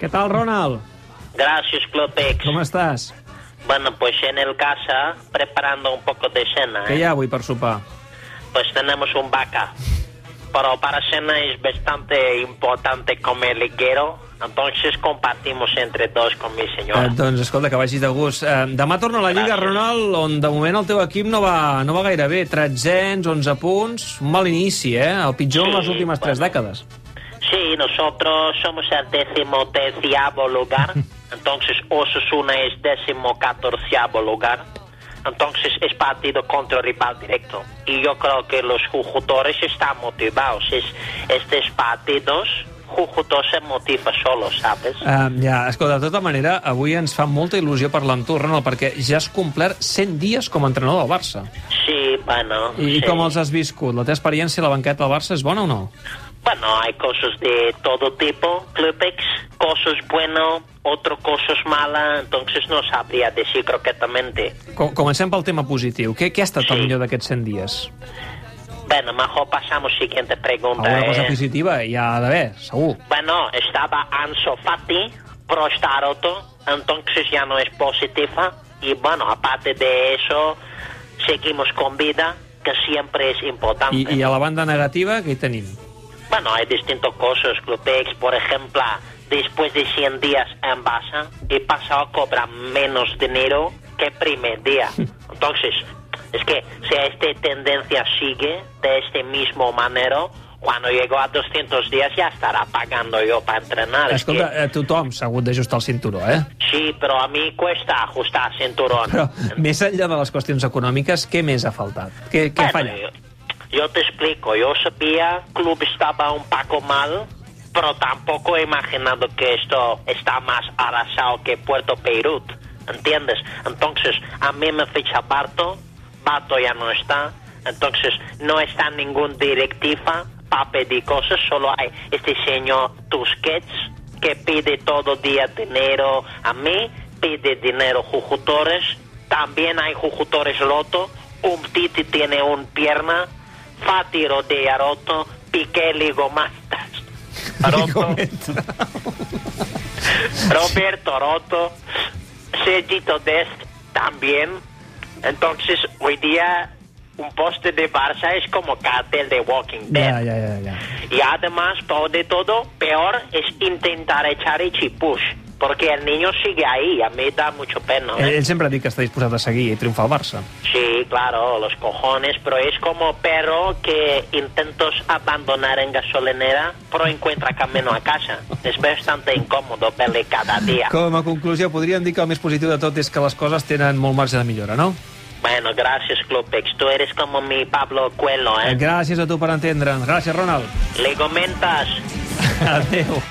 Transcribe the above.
Què tal, Ronald? Gracias, Clopex. Com estàs? Bueno, pues en el casa, preparando un poco de cena. Què ¿eh? hi ha avui per sopar? Pues tenemos un vaca. Pero para cena es bastante importante comer ligero. Entonces compartimos entre dos con mi Eh, señora. doncs escolta, que vagis de gust. Eh, demà torna a la Lliga, Gràcies. Ronald, on de moment el teu equip no va, no va gaire bé. Tretzens, 11 punts, un mal inici, eh? El pitjor en les Sí, últimes tres bueno. dècades. Sí, nosotros somos el décimo terciavo lugar. Entonces Osasuna es décimo catorceavo lugar. Entonces es partido contra rival directo. Y yo creo que los jugadores están motivados. Es, estos partidos, jugadores se motivan solos, ¿sabes? Uh, ja, escolta, de tota manera, avui ens fa molta il·lusió parlar amb tu, Ronald, perquè ja has complert 100 dies com a entrenador del Barça. Sí, bueno. I, I sí. com els has viscut? La teva experiència a la banqueta del Barça és bona o no? Bueno, hay cosas de todo tipo, Clubex, cosas buenas, otras cosas malas, entonces no sabría decir croquetamente. Com, comencem pel tema positiu. Què, què ha estat el Sí. millor d'aquests 100 dies? Bueno, mejor pasamos siguiente pregunta. Alguna cosa eh. positiva hi ha d'haver, segur. Bueno, estaba Anso Fati, pero está roto, entonces ya no es positiva. Y bueno, aparte de eso, seguimos con vida, que siempre es importante. I, I a la banda negativa, què hi tenim? Bueno, hay distintos cosas, Clubex, por ejemplo, después de 100 días en Basa, he pasado a cobrar menos dinero que el primer día. Entonces, es que si esta tendencia sigue de este mismo manera, cuando llego a 200 días ya estará pagando yo para entrenar. Es Escolta, que- eh, tothom s'ha hagut d'ajustar el cinturó, eh? sí, pero a mí cuesta ajustar cinturón. Però més enllà de les qüestions econòmiques, què més ha faltat? Què, què ha Bueno, fallat? Yo, yo te explico, yo sabía que el club estaba un poco mal, pero tampoco he imaginado que esto está más arrasado que Puerto Beirut, ¿entiendes? Entonces, a mí me ficha Barto, Barto ya no está, entonces no está ningún directiva para pedir cosas, solo hay este señor Tusquets que pide todo día dinero a mí, pide dinero jugadores, también hay jugadores rotos. Un Titi tiene un pierna. Fati rodilla roto. Piqué ligomastas. eh, Roto. Roberto roto. Sergito Dest también. Entonces, hoy día un poste de Barça es como cartel de Walking Dead. Ja, ja, ja, ja. Y además, todo de todo, peor es intentar echar el chipush. Porque el niño sigue ahí. A mí da mucho pena. ¿eh? Ell, ell sempre ha dit que està disposat a seguir i triomfar al Barça. Sí, claro, los cojones, pero es como perro que intentas abandonar en gasolinera, pero encuentra camino a casa. Es bastante incómodo verle cada día. Com a conclusió, podríem dir que el més positiu de tot és que les coses tenen molt marge de millora, no? Bueno, gracias, Clubex. Tú eres como mi Pablo Cuelo, ¿eh? Gràcies a tu per entendre'ns. Gràcies, Ronald. Le comentas. Adéu.